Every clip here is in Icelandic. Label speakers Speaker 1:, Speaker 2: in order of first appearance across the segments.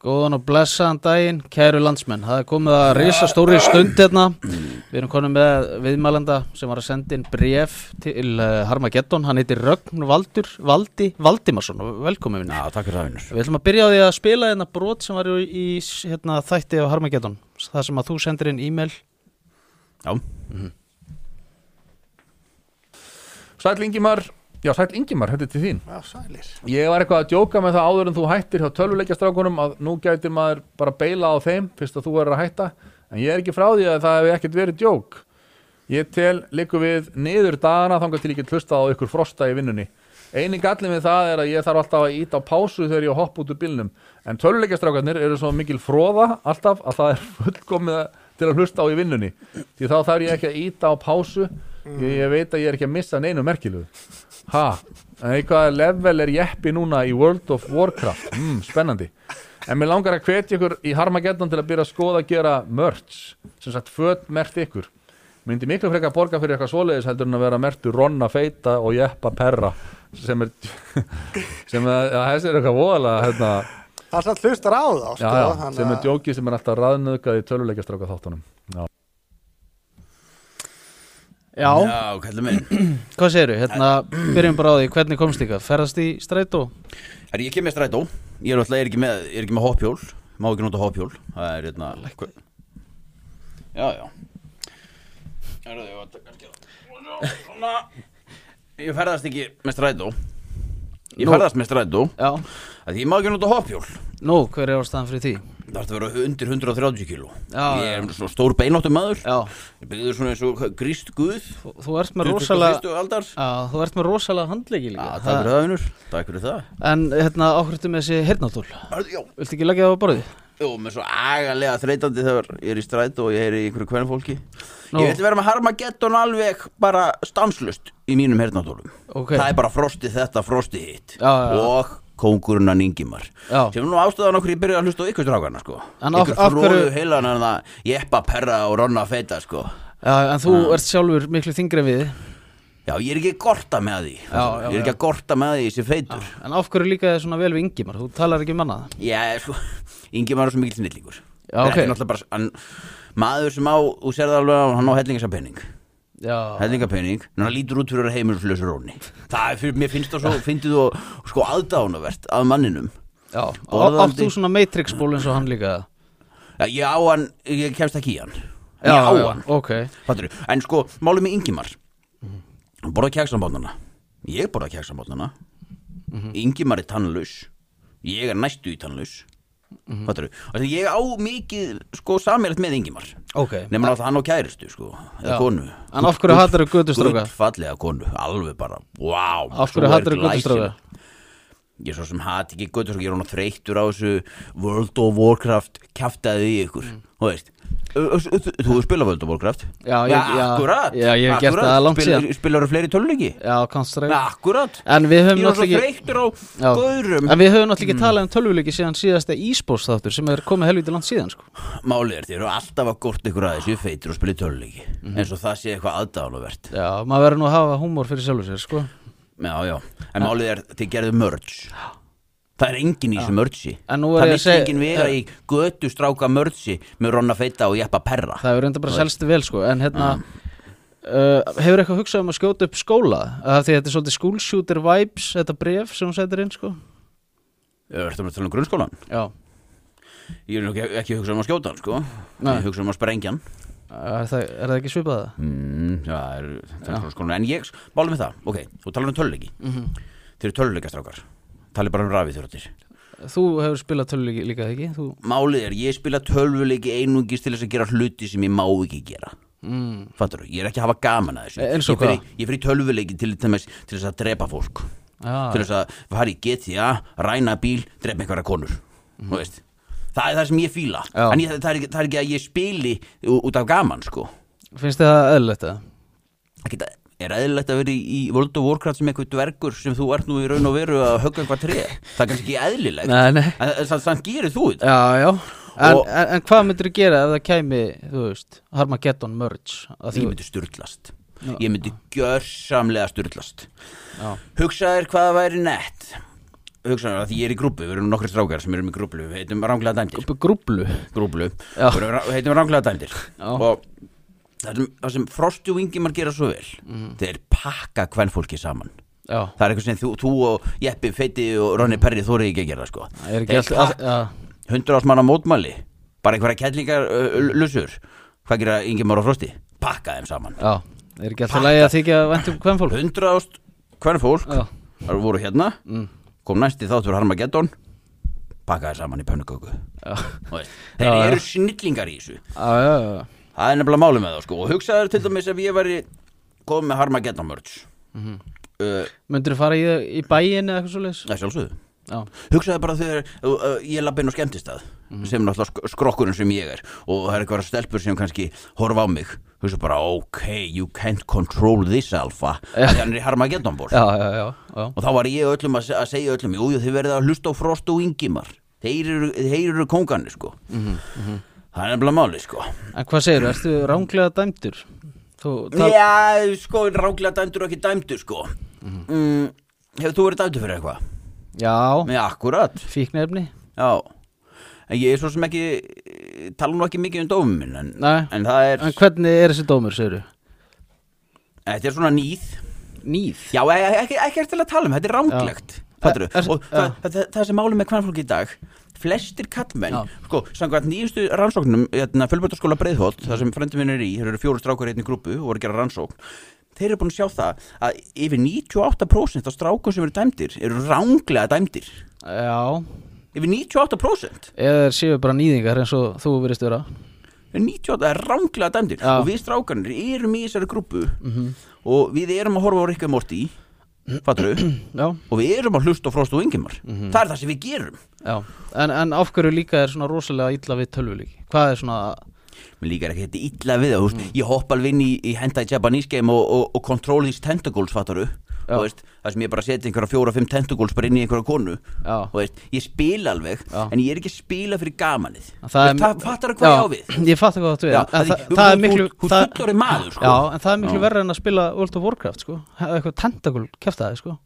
Speaker 1: Góðan og blessaðan daginn, kæru landsmenn. Það er komið að risa stóri stund hérna. Við erum konum með viðmælanda sem var að senda inn bref til uh, Harmageddon. Hann heitir Rögn Valdur, Valdi, Valdimarsson og velkomin vinur.
Speaker 2: Já, takk fyrir það vinnur.
Speaker 1: Við ætlum að byrja á því að spila hérna brot sem var í, í hérna, þætti af Harmageddon. Það sem að þú sendir inn e-mail.
Speaker 2: Já,
Speaker 3: Sæll Ingimar Já, Sæll Ingimar, þetta er til þín
Speaker 4: Já, sælir.
Speaker 3: Ég var eitthvað að djóka með það áður en þú hættir hjá tölvuleikjastrákunum að nú gætir maður bara beila á þeim fyrst að þú verður að hætta en ég er ekki frá því að það hefur ekkert verið djók Ég tel líku við niður dagana þangar til ég get hlustað á ykkur frosta í vinnunni Einu gallin við það er að ég þarf alltaf að íta á pásu þegar ég hoppa út úr bílnum en tölvuleikjastrákarnir eru svo mikil fróða alltaf að það er fullkomið til að hlusta á í vinnunni því þá þarf ég ekki að íta á pásu ég, ég veit að ég er ekki að missa neinu merkilugu Ha, en í hvaða level er jeppi núna í World of Warcraft? Mm, spennandi. En mér langar að hvetja ykkur í Harmageddon til að byrja að skoða að gera merch, sem sagt fötmert ykkur. Myndi miklu frekar borga fyrir eitthvað svoleiðis heldur en að vera mertu Ronna Feita og Jeppa Perra, sem er, sem að, já, þessi er eitthvað voðalega, hérna,
Speaker 4: Það satt hlustar á þá,
Speaker 3: já,
Speaker 4: sko.
Speaker 3: já,
Speaker 4: þannig
Speaker 3: sem
Speaker 4: að-
Speaker 3: er djókið sem er alltaf raðnöðgað í töluleikastráka þáttunum. Já.
Speaker 1: Já,
Speaker 2: Já kallum minn.
Speaker 1: hvað segirðu? Hérna, byrjum bara á því. Hvernig komst ykkar? Ferðast í strætó?
Speaker 2: Herri, ég kem með strætó. Ég er alltaf, ég er ekki með, ég er ekki með hoppjól. Má ekki nota hoppjól. Það er hérna... hver- Já, já. Herru, ég var að taka skjála. Svona. Ég ferðast ekki með strætó. Ég
Speaker 1: Nú.
Speaker 2: ferðast með strætó.
Speaker 1: Já.
Speaker 2: Það því ég má ekki nota hoppjól.
Speaker 1: Nú, hver er ástæðan fyrir því?
Speaker 2: Það þarf að vera undir 130 kíló.
Speaker 1: Já,
Speaker 2: Ég
Speaker 1: já.
Speaker 2: er svo stór beináttum maður.
Speaker 1: Já,
Speaker 2: Ég byggður svona eins og gríst guð.
Speaker 1: þú, þú ert með rosalega...
Speaker 2: 21. aldar.
Speaker 1: Já, þú ert með rosalega handleiki
Speaker 2: Já,
Speaker 1: líka.
Speaker 2: takk fyrir það, vinnur. Takk fyrir það.
Speaker 1: En hérna áhriftu með þessi hernatól
Speaker 2: Herru, já.
Speaker 1: Viltu ekki leggja það á borðið?
Speaker 2: Jú, með svo agalega þreytandi þegar ég er í strætu og ég heyri í einhverju hvern fólki
Speaker 1: Nú.
Speaker 2: Ég ætla að vera með Harmageddon alveg bara stanslust í mínum hernatólum
Speaker 1: Ok.
Speaker 2: Það er bara frosti þetta, frosti hitt
Speaker 1: Já, já, já.
Speaker 2: Og kóngurinn hann Ingimar
Speaker 1: Já.
Speaker 2: Sem er nú ástæðan okkur ég byrjaði að hlusta á ykkur strákana sko
Speaker 1: En af-
Speaker 2: Ykkur
Speaker 1: af hverju-
Speaker 2: fróðu heilan hann að jeppa perra og ronna feita sko
Speaker 1: Já, en þú
Speaker 2: Ah.
Speaker 1: ert sjálfur miklu þingri en við
Speaker 2: Já, ég er ekki að gorta með því
Speaker 1: Já, já,
Speaker 2: Ég er
Speaker 1: já.
Speaker 2: ekki að gorta með því þessi feitur já.
Speaker 1: En af hverju líka þið svona vel við Ingimar? Þú talar ekki um annað
Speaker 2: Ég, sko, Ingimar er svo mikill snillingur
Speaker 1: Já, ok.
Speaker 2: Þetta er náttúrulega bara hann, Maður sem á, þú sér það alveg að hann á hellingisar penning
Speaker 1: Já,
Speaker 2: hellingapenning en hann lítur út fyrir að heimilislausur róni það er fyrir, mér finnst það svo, fyndið og sko aðdánavert af manninum
Speaker 1: já
Speaker 2: Orðandi-
Speaker 1: Átt þú svona matrix ból eins og hann líka
Speaker 2: Já, ég á hann, ég kemst ekki í hann
Speaker 1: Já,
Speaker 2: ég á
Speaker 1: já,
Speaker 2: hann,
Speaker 1: ok
Speaker 2: fattur en sko, málið með Ingimar hann borða kjæksambónana ég borða kjæksambónana
Speaker 1: Mhm.
Speaker 2: Ingimar er tannlaus ég er næstu í tannlaus
Speaker 1: Mhm.
Speaker 2: mm -hmm. ég á mikið sko samilegt með Ingimar
Speaker 1: Ok
Speaker 2: Nefnir að hann á kæristu sko, eða
Speaker 1: Já.
Speaker 2: konu
Speaker 1: En af hverju hattarðu götustráka?
Speaker 2: Fallega konu, alveg bara, wow
Speaker 1: Af hverju
Speaker 2: svo er
Speaker 1: hattarðu
Speaker 2: glæsilegt.
Speaker 1: götustráka?
Speaker 2: Ég svo sem hatt ekki götustráka, ég er hann þreyttur á þessu World of Warcraft kjaftaði í ykkur
Speaker 1: Mm.
Speaker 2: Þú veist, Ö, ö, ö, þú þú spila World of Warcraft
Speaker 1: Já, ég- já.
Speaker 2: akkurat
Speaker 1: Já, ég hef gert
Speaker 2: akkurat.
Speaker 1: það langt
Speaker 2: Spilar-
Speaker 1: síðan.
Speaker 2: Spilarðu fleiri töluleiki?
Speaker 1: Já, kannst reyna
Speaker 2: Akkurat
Speaker 1: En við höfum
Speaker 2: Ég er svo
Speaker 1: náttúrulega ekki
Speaker 2: þreyttur Mm. á
Speaker 1: Já.
Speaker 2: gaurum
Speaker 1: En við höfum náttúrulega ekki talað um tölvuleiki síðan síðasta e-sports þáttur sem er komið helviti langt síðan sko
Speaker 2: Málið er, þér eru alltaf að gort ykkur aðeins Ég feitur og spila töluleiki
Speaker 1: Mhm.
Speaker 2: eins og það sé eitthvað aðdánuvert
Speaker 1: Já, maður verður nú að hafa húmor fyrir sjálfur sér sko
Speaker 2: Já, já, en málið er þið gerðu mörg Það er engin í þessu mörgsi
Speaker 1: En nú er ég
Speaker 2: Það
Speaker 1: að
Speaker 2: vill
Speaker 1: segja-
Speaker 2: engin vera í götu stráka mörgsi með Ronna Feita og Jeppa Perra
Speaker 1: Það hefur enda bara selst vel sko En hérna uh, Hefur eitthvað hugsað um að skjóta upp skóla Af Því þetta er svolítið school shooter vibes Þetta bref sem hún setur inn sko
Speaker 2: Ertu að tala um grunnskólan?
Speaker 1: Já
Speaker 2: Ég er nú ekki, ekki hugsa um að skjóta hann, sko
Speaker 1: Nei.
Speaker 2: Ég hugsa um að sprengja hann
Speaker 1: Er það, er það ekki svipað það?
Speaker 2: mm, Já, það er, það er grunnskólan En ég, málið með það, ok, þú talar um töluleiki mm
Speaker 1: Mhm.
Speaker 2: Þeir eru töluleika strákar Talið bara um rafið þurftir
Speaker 1: Þú hefur spilað töluleiki líka eða ekki Þú
Speaker 2: Málið er, ég spila tölvuleiki einungis til þess að gera hluti sem ég má ekki gera
Speaker 1: mm,
Speaker 2: Fattur, ég er ekki að hafa gaman að þessu
Speaker 1: Eh, Eins og
Speaker 2: Ég fer í-
Speaker 1: hvað?
Speaker 2: Ég fyrir tölvuleiki til, til, til, til þess að drepa fólk Til
Speaker 1: Ah, Já
Speaker 2: þess að fara í GTA, ræna bíl, drepa einhverja konur Þú veist Það er það sem ég fíla
Speaker 1: Mhm. Já.
Speaker 2: En ég, það, er, ekki- það er ekki að ég spili ú- út af gaman sko
Speaker 1: Finnst þið það eðlilegt það?
Speaker 2: Það geta, er eðlilegt að vera í, í World of Warcraft sem eitthvað dvergur sem þú ert nú í raun og veru að högga eitthvað tré Það er kannski ekki eðlilegt
Speaker 1: Nei, nei
Speaker 2: En en samt samt gerir þú þetta
Speaker 1: Já, já En,
Speaker 2: Og-
Speaker 1: en, en hvað myndir þú gera ef það kæmi, þú veist, Harmageddon Merge að
Speaker 2: Ég
Speaker 1: þú,
Speaker 2: myndi styrlast Ég myndi gjörsamlega styrlast
Speaker 1: já,
Speaker 2: Hugsaðir hvað það væri nett hugsanum að því ég er í grúpu, við erum nokkri strákar sem erum í grúpu, við heitum ránglega dæmdir
Speaker 1: Upp í grúblu
Speaker 2: grúplu,
Speaker 1: Já.
Speaker 2: við erum rá- við heitum ránglega dæmdir
Speaker 1: Já.
Speaker 2: og það sem, það sem Frosti og Ingimar gera svo vel
Speaker 1: Mhm.
Speaker 2: þeir pakka kvennfólki saman
Speaker 1: Já,
Speaker 2: það er eitthvað sem þú, þú og Jeppi, Feiti og Ronni Perri þórið ekki að gera sko.
Speaker 1: Mhm. það er ekki allt all, Já,
Speaker 2: hundra ás manna mótmæli bara einhverja kellingar uh, lusur hvað gera Ingimar og Frosti? pakka þeim saman
Speaker 1: já Það er ekki alltaf lægi að þykja um væntum hvern fólk
Speaker 2: hundra ást hvern fólk
Speaker 1: Já.
Speaker 2: þar voru hérna
Speaker 1: Mm.
Speaker 2: kom næst í þáttur Harmageddon pakka þeir saman í pönnuköku
Speaker 1: Já,
Speaker 2: Þú veist,
Speaker 1: Já,
Speaker 2: þeir
Speaker 1: já.
Speaker 2: eru snillingar í þessu
Speaker 1: já, já, já.
Speaker 2: það er nefnilega málið með þá sko og hugsaður til dæmis ef ég væri komið með Harmageddon mörds uh,
Speaker 1: Myndirðu fara í, í bæin eða eitthvað svo leis?
Speaker 2: það er sjálfsögðu
Speaker 1: Já,
Speaker 2: hugsaði bara þegar uh, uh, ég lapp inn á skemmtistað sem náttúrulega sk skrokkurinn sem ég er og það er eitthvað stelpur sem kannski horfa á mig hugsa bara ok, you can't control this alpha þannig að hann er í Harmageddon bór
Speaker 1: já, já, já, já.
Speaker 2: og þá var ég öllum að, se- að segja öllum jú, jú, þið verðið að hlusta á Frost og Ingimar þeir eru, þeir eru kóngarnir sko
Speaker 1: Mhm,
Speaker 2: það er nefnilega máli sko
Speaker 1: En hvað segirðu, ertu ránglega dæmdur? Þú, tal,
Speaker 2: já, sko, ráklega dæmdur og ekki dæmdur sko
Speaker 1: Mhm.
Speaker 2: mm hefur þú verið dæmdur fyrir eitthvað?
Speaker 1: já,
Speaker 2: já, akkurat
Speaker 1: fíknefni
Speaker 2: Já, en ég er svo sem ekki eh, tala nú ekki mikið um dófum minn en,
Speaker 1: Nei.
Speaker 2: en það er,
Speaker 1: En hvernig er þessi dómur, segirðu?
Speaker 2: þetta er svona nýð
Speaker 1: Nýð
Speaker 2: Já, e- e- ekki, ekki er til að tala um, þetta er ránglegt Fattur,
Speaker 1: Er- er-
Speaker 2: og það, það, það, það sem máli með kvannfólki í dag flestir kattmenn,
Speaker 1: Já.
Speaker 2: sko, samkvæmt nýjustu rannsóknum, hérna, fjölbættaskóla breiðholt það sem frendi minn er í, þeir eru fjóru strákur í einni grúpu og voru að gera rannsókn þeir eru búin að sjá það að yfir 98% af strákum sem eru dæmdir eru ránglega dæmdir
Speaker 1: Já,
Speaker 2: yfir 98%
Speaker 1: eða þeir séu bara nýðingar eins og þú virðist vera
Speaker 2: 98 er ránglega dæmdir
Speaker 1: Já. Mhm.
Speaker 2: og við strákanir erum í þessari grúpu og við erum að horfa á Rikka Morty fattur
Speaker 1: Já,
Speaker 2: og við erum að hlusta á Frost og Ingimar
Speaker 1: Mhm.
Speaker 2: það er það sem við gerum
Speaker 1: já En, en af hverju líka er svona rosalega illa við tölvuleiki? Hvað er svona
Speaker 2: mér líkar ekki þetta illa við það, þú
Speaker 1: Mhm.
Speaker 2: veist, ég hoppa alveg inn í, í Hentai Japanese Game og, og, og Control These Tentacles fattaru
Speaker 1: Já.
Speaker 2: og veist, það sem ég bara setja einhverja fjóra, fimm tentacles bara inn í einhverja konu
Speaker 1: Já.
Speaker 2: og veist, ég spila alveg
Speaker 1: Já.
Speaker 2: en ég er ekki að spila fyrir gamanið
Speaker 1: Það
Speaker 2: Þú
Speaker 1: er-
Speaker 2: veist, það fattar hvað ég á
Speaker 1: Já,
Speaker 2: við
Speaker 1: Ég fattar hvað það við
Speaker 2: Já,
Speaker 1: en
Speaker 2: af því
Speaker 1: það,
Speaker 2: þú-
Speaker 1: það
Speaker 2: þú-
Speaker 1: er miklu
Speaker 2: þú- þú
Speaker 1: það-
Speaker 2: fullorðinn maður, sko.
Speaker 1: Já, en það er miklu
Speaker 2: Já.
Speaker 1: verra en að spila World of Warcraft, sko Það er Eitthvað tentakul kjæftaði, sko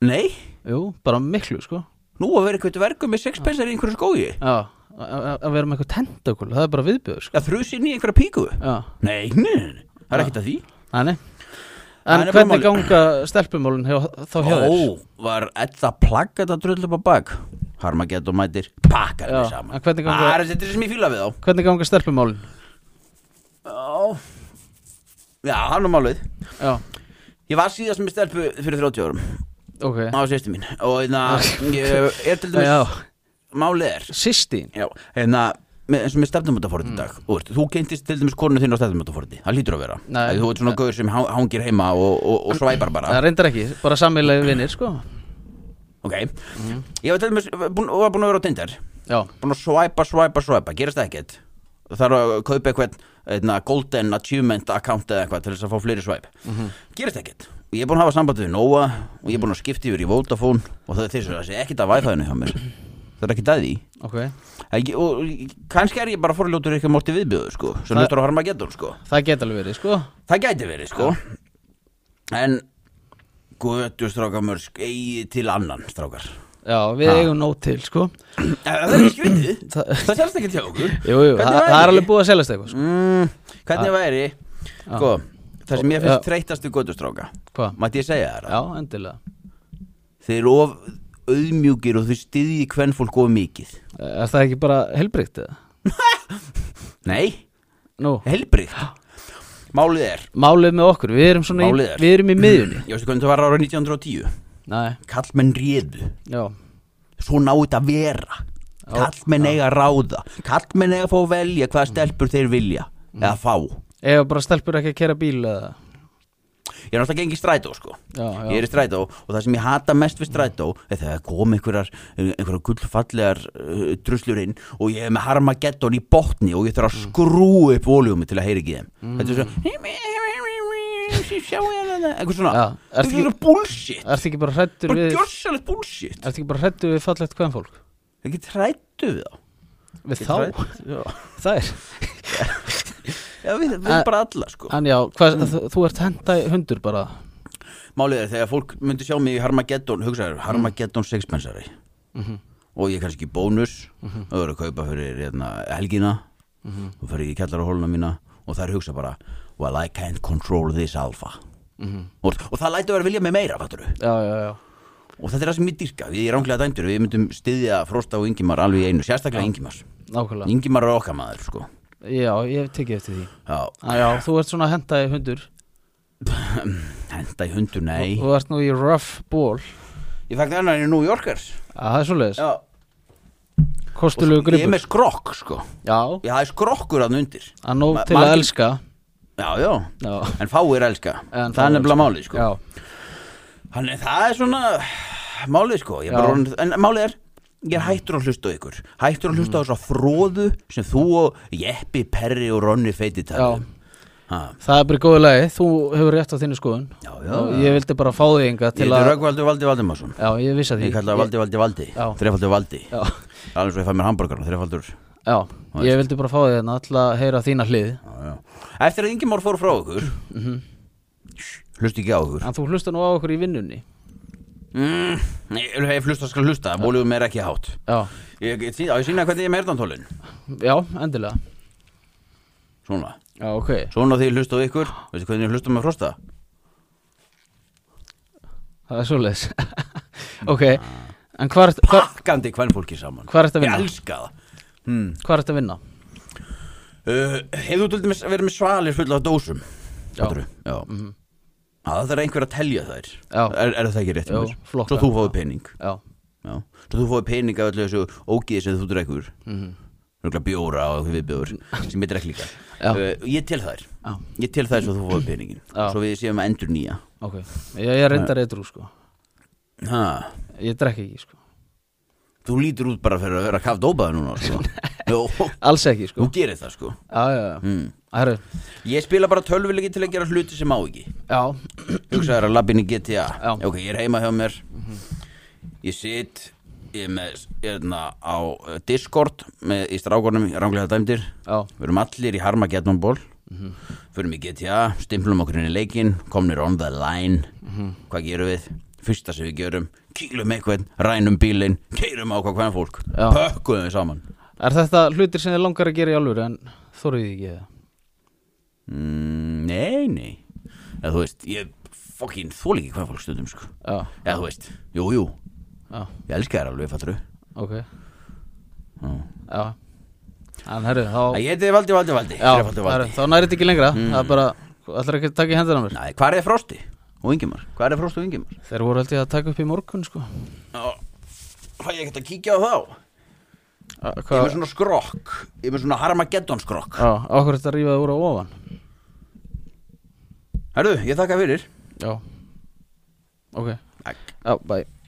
Speaker 2: nei,
Speaker 1: Jú, bara miklu, sko
Speaker 2: nú að vera eitthvað verku með sexpensar í einhverju skói
Speaker 1: Já, að- að að vera með eitthvað tentakul Það er bara viðbjöður, sko
Speaker 2: að þrusi inn í einhverja píku
Speaker 1: Já,
Speaker 2: Nei, nei, nei, nei, það er ekkert að því
Speaker 1: þannig
Speaker 2: Það
Speaker 1: En
Speaker 2: er bara
Speaker 1: hvernig
Speaker 2: málið.
Speaker 1: ganga stelpumálun hjá, þá hjá þér?
Speaker 2: Ó, var Edda plagg þetta drull upp á bak Harmageddon mætir, pakkar
Speaker 1: Já,
Speaker 2: við saman
Speaker 1: en hvernig gangi-
Speaker 2: Það er þetta sem ég fíla við þá
Speaker 1: Hvernig ganga stelpumálun?
Speaker 2: Já, já hann er málið
Speaker 1: Já,
Speaker 2: Ég var síðast með stelpu fyrir 30 árum
Speaker 1: ok
Speaker 2: á sérstu mín og hérna, ég er til
Speaker 1: Já.
Speaker 2: dæmis málið er
Speaker 1: Sistín
Speaker 2: Já, hérna með, eins og með stefnumöndafórið
Speaker 1: Mm.
Speaker 2: í dag og veist, þú kynntist til dæmis konu þinn á stefnumöndafórið það lítur að vera,
Speaker 1: Nei.
Speaker 2: Að þú ert svona gauður sem hang- hangir heima og, og, og svæpar bara
Speaker 1: Það reyndar ekki, bara sammeilegi vinnir sko
Speaker 2: ok,
Speaker 1: Mhm.
Speaker 2: ég var til dæmis búin, var búin að vera á Tinder
Speaker 1: Já,
Speaker 2: búin að svæpa, svæpa, svæpa, gerast ekkert þarf að kaupa eitthvað einna, golden achievement account eða eitthvað til þess að fá fleiri svæp gerast ekkert og ég er búin að hafa samband við Nóa og ég er búin að skipta yfir í Vodafone og það er þess að það sé ekkert að Wi-Fi-inu hjá mér það er ekkert að því
Speaker 1: ok
Speaker 2: Ég, og kannski er ég bara forljótur eitthvað móti viðbjöðu sko, sem
Speaker 1: Það-
Speaker 2: hlustur á Harmageddon sko
Speaker 1: Það geta alveg verið sko
Speaker 2: það gæti verið sko en götu strákar mörsk eigi til annan strákar
Speaker 1: Já, við eigum nóg til sko
Speaker 2: Eh, það er ekki vitið, það selst ekki til okkur
Speaker 1: Jú, jú, það, það er alveg búið að seljast eitthvað sko. Ah.
Speaker 2: mm, hvernig væri sko, það sem ég
Speaker 1: Já.
Speaker 2: finnst þreytast við götu stráka
Speaker 1: Hvað?
Speaker 2: mætti ég segja þér
Speaker 1: Ah.
Speaker 2: það
Speaker 1: Já, endilega
Speaker 2: þeir eru of auðmjúkir og þau styðji hvern fólk of mikið
Speaker 1: Eh, Er það ekki bara helbrikt eða?
Speaker 2: nei,
Speaker 1: Nú,
Speaker 2: helbrikt málið er,
Speaker 1: málið með okkur, við erum svona í,
Speaker 2: Málið er-
Speaker 1: Við erum í miðjunni
Speaker 2: ég veistu hvernig það var ára 1910
Speaker 1: Nei,
Speaker 2: kallmenn réðu
Speaker 1: já,
Speaker 2: svo ná þetta að vera kallmenn eiga að ráða kallmenn eiga að fá að velja hvaða stelpur þeir vilja
Speaker 1: Mm.
Speaker 2: eða fá ég
Speaker 1: eða bara stelpur ekki að kera bíl eða
Speaker 2: er náttúrulega gengið strætó sko
Speaker 1: Já, já.
Speaker 2: ég er í strætó og það sem ég hata mest við strætó er þegar kom einhverjar einhverjar gullfallegar uh, druslur inn og ég er með harmageddon í botni og ég þarf að
Speaker 1: Mm.
Speaker 2: skrú upp voljumi til að heyra ekki í þeim þetta er svo sjáu hérna eitthvað svona
Speaker 1: Já, ertu
Speaker 2: þetta er bullshit
Speaker 1: Ertu ekki bara hrættur
Speaker 2: bara
Speaker 1: við
Speaker 2: gjörsalegt bullshit
Speaker 1: Ertu ekki bara hrættur við fallegt hvern fólk?
Speaker 2: ekki trættu við þá
Speaker 1: Við
Speaker 2: Ekki
Speaker 1: þá?
Speaker 2: hræddur, já.
Speaker 1: Það er
Speaker 2: Já, við, við
Speaker 1: Eh,
Speaker 2: bara alla sko Mm.
Speaker 1: En já, hvað, þú, þú ert henda hundur bara
Speaker 2: Málið er þegar fólk myndi sjá mig í Harmageddon
Speaker 1: Mm.
Speaker 2: Hugsaður, Harmageddon sexpensari
Speaker 1: Mhm.
Speaker 2: Og ég er kannski í bónus Og verður að kaupa fyrir hérna, helgina Og fer ég í kjallarahóluna mína Og þær hugsa bara Well, I can't control this alpha og, og það lætur vera að vilja mig meira, fattaru
Speaker 1: já, já, já
Speaker 2: Og þetta er það sem ég dýrka, við erum ránglega dæmdur Við myndum styðja Frosta og Ingimar alveg í einu Sérstaklega Ingimar
Speaker 1: Nákvæmlega,
Speaker 2: Ingimar er okkar maður, sko
Speaker 1: já, ég hef tekið eftir því
Speaker 2: Já,
Speaker 1: ah, Já, þú ert svona hentaði hundur
Speaker 2: henda í hundur, nei
Speaker 1: Þú ert nú í rough ball
Speaker 2: Ég fækti hennar í New Yorkers
Speaker 1: að Það er svoleiðis,
Speaker 2: Já,
Speaker 1: kostulegu
Speaker 2: ég er
Speaker 1: gripur
Speaker 2: með skrokk, sko
Speaker 1: Já,
Speaker 2: Já, það er skrokkur að undir
Speaker 1: að nóg
Speaker 2: Ma-
Speaker 1: til að
Speaker 2: margir-
Speaker 1: elska
Speaker 2: Já, já,
Speaker 1: Já,
Speaker 2: en fáir elska
Speaker 1: En
Speaker 2: Það
Speaker 1: fáir
Speaker 2: er nefnilega málið, sko
Speaker 1: já,
Speaker 2: Hann, það er svona málið, sko Ég er bara,
Speaker 1: Já. Mm.
Speaker 2: orðinn- En málið er, ég er hættur að hlusta á ykkur Hættur að hlusta á þessa fróðu sem þú og Jeppi, Perri og Ronni feiti um.
Speaker 1: já
Speaker 2: talið Já,
Speaker 1: Það er bara í góðu lagi, þú hefur rétt á þínu skoðun
Speaker 2: já, já
Speaker 1: Og Ég vildi bara fá þig enga
Speaker 2: Ég
Speaker 1: til
Speaker 2: er
Speaker 1: að
Speaker 2: Röggvaldur Valdi Valdimarsson
Speaker 1: Já, ég vissi að því
Speaker 2: Ég kalla það Valdi Valdi Valdi
Speaker 1: Já.
Speaker 2: Þrefaldur Valdi
Speaker 1: Já,
Speaker 2: Alveg svo ég fæ mér hamburgarna, þrefaldur
Speaker 1: já, ég vildi bara fá þig hérna til að heyra þína hlið
Speaker 2: Já, já. Eftir að Ingimár fór frá okkur
Speaker 1: Mhm.
Speaker 2: Hlusta ekki á okkur
Speaker 1: En þú hlusta nú á okkur í vinnunni
Speaker 2: mm, Ég hef hlusta skal hlusta, bólum er ekki hátt
Speaker 1: Já,
Speaker 2: Ég, ég, sýna- á ég sína hvernig ég er með erðantólin
Speaker 1: já, endilega
Speaker 2: Svona,
Speaker 1: Já, ok
Speaker 2: svona því ég hlusta á ykkur Veistu hvernig ég hlusta með frosta?
Speaker 1: Það er svoleiðis Ok, en hvað ert hvar,
Speaker 2: Pakkandi hvern fólki saman
Speaker 1: hvar ert að
Speaker 2: Ég
Speaker 1: vinna?
Speaker 2: elska það hmm.
Speaker 1: Hvað ert að vinna?
Speaker 2: uh, Hefur þú til dæmis verið með svalir fulla af dósum?
Speaker 1: Já. Mhm.
Speaker 2: Fattarðu? já. Að Það er einhver að telja þær
Speaker 1: Já.
Speaker 2: er, er það ekki rétt hjá
Speaker 1: Jú,
Speaker 2: mér?
Speaker 1: flokka.
Speaker 2: Svo þú fáið pening
Speaker 1: Já,
Speaker 2: Já. Svo þú fóði pening af öllu þessu ógið sem þú drekkur mm
Speaker 1: Mhm.
Speaker 2: bjóra og viðbjóður sem ég drekk líka
Speaker 1: Já.
Speaker 2: uh, Ég tel þær
Speaker 1: Já.
Speaker 2: Ég tel þær svo þú fóði peningin
Speaker 1: Já.
Speaker 2: Svo við séum að endur nýja
Speaker 1: ok Ég, ég reyndar eitthrú, sko
Speaker 2: ha.
Speaker 1: Ég drekk ekki, sko
Speaker 2: Þú lítur út bara fyrir að vera kaft óbaða núna sko. Jó,
Speaker 1: Alls ekki, sko
Speaker 2: Þú gerir það sko
Speaker 1: Já, já, já
Speaker 2: mm.
Speaker 1: Herru,
Speaker 2: Ég spila bara tölvileiki til að gera hluti sem á ekki
Speaker 1: já,
Speaker 2: Hugsaðu þér að labbin í GTA
Speaker 1: Já. Mhm.
Speaker 2: Ok, ég er heima hjá mér Ég sit Ég er með, hérna, á eh, Discord með, í strákornum, ránglega dæmdir
Speaker 1: já,
Speaker 2: Við erum allir í Harmageddon ból
Speaker 1: Mhm.
Speaker 2: Förum í GTA, stimplum okkur inn í leikinn Komnir on the line
Speaker 1: Mhm.
Speaker 2: Hvað gerum við? Fyrsta sem við gerum Kýlum eitthvað, rænum bílinn Keirum á hvað hvernig fólk
Speaker 1: Já.
Speaker 2: Pökkuðum við saman
Speaker 1: er þetta hlutir sem þið langar að gera í alvöru En þorðið þið ekki það?
Speaker 2: mm, Nei, nei Eða þú veist, ég fokkin þól ekki hvernig fólk stundum sko.
Speaker 1: Já,
Speaker 2: Eða þú veist, jú, jú
Speaker 1: já,
Speaker 2: Ég elska þér alveg, fattur
Speaker 1: ok
Speaker 2: Já.
Speaker 1: Já En herru, þá
Speaker 2: Ég heiti Valdi, Valdi, Valdi
Speaker 1: Já,
Speaker 2: Þrefaldur
Speaker 1: herru,
Speaker 2: Valdi.
Speaker 1: þá nærið þetta ekki lengra Það er bara, ætlar ekki að taka í hendina á mér
Speaker 2: Mm. Nei, Hvar er Frosti og Ingimar? Hvar er Frosti og Ingimar?
Speaker 1: Þeir voru held ég að taka upp í morgun, sko
Speaker 2: Já, Fæ ég ekkert að kíkja á þá?
Speaker 1: Að-
Speaker 2: Ég er með
Speaker 1: Hvað,
Speaker 2: svona skrokk Ég er með svona Harmageddon skrokk
Speaker 1: já, okkur þetta rífaði úr á ofan
Speaker 2: Herðu, ég þakka fyrir
Speaker 1: Já Ok,
Speaker 2: Takk
Speaker 1: já, bye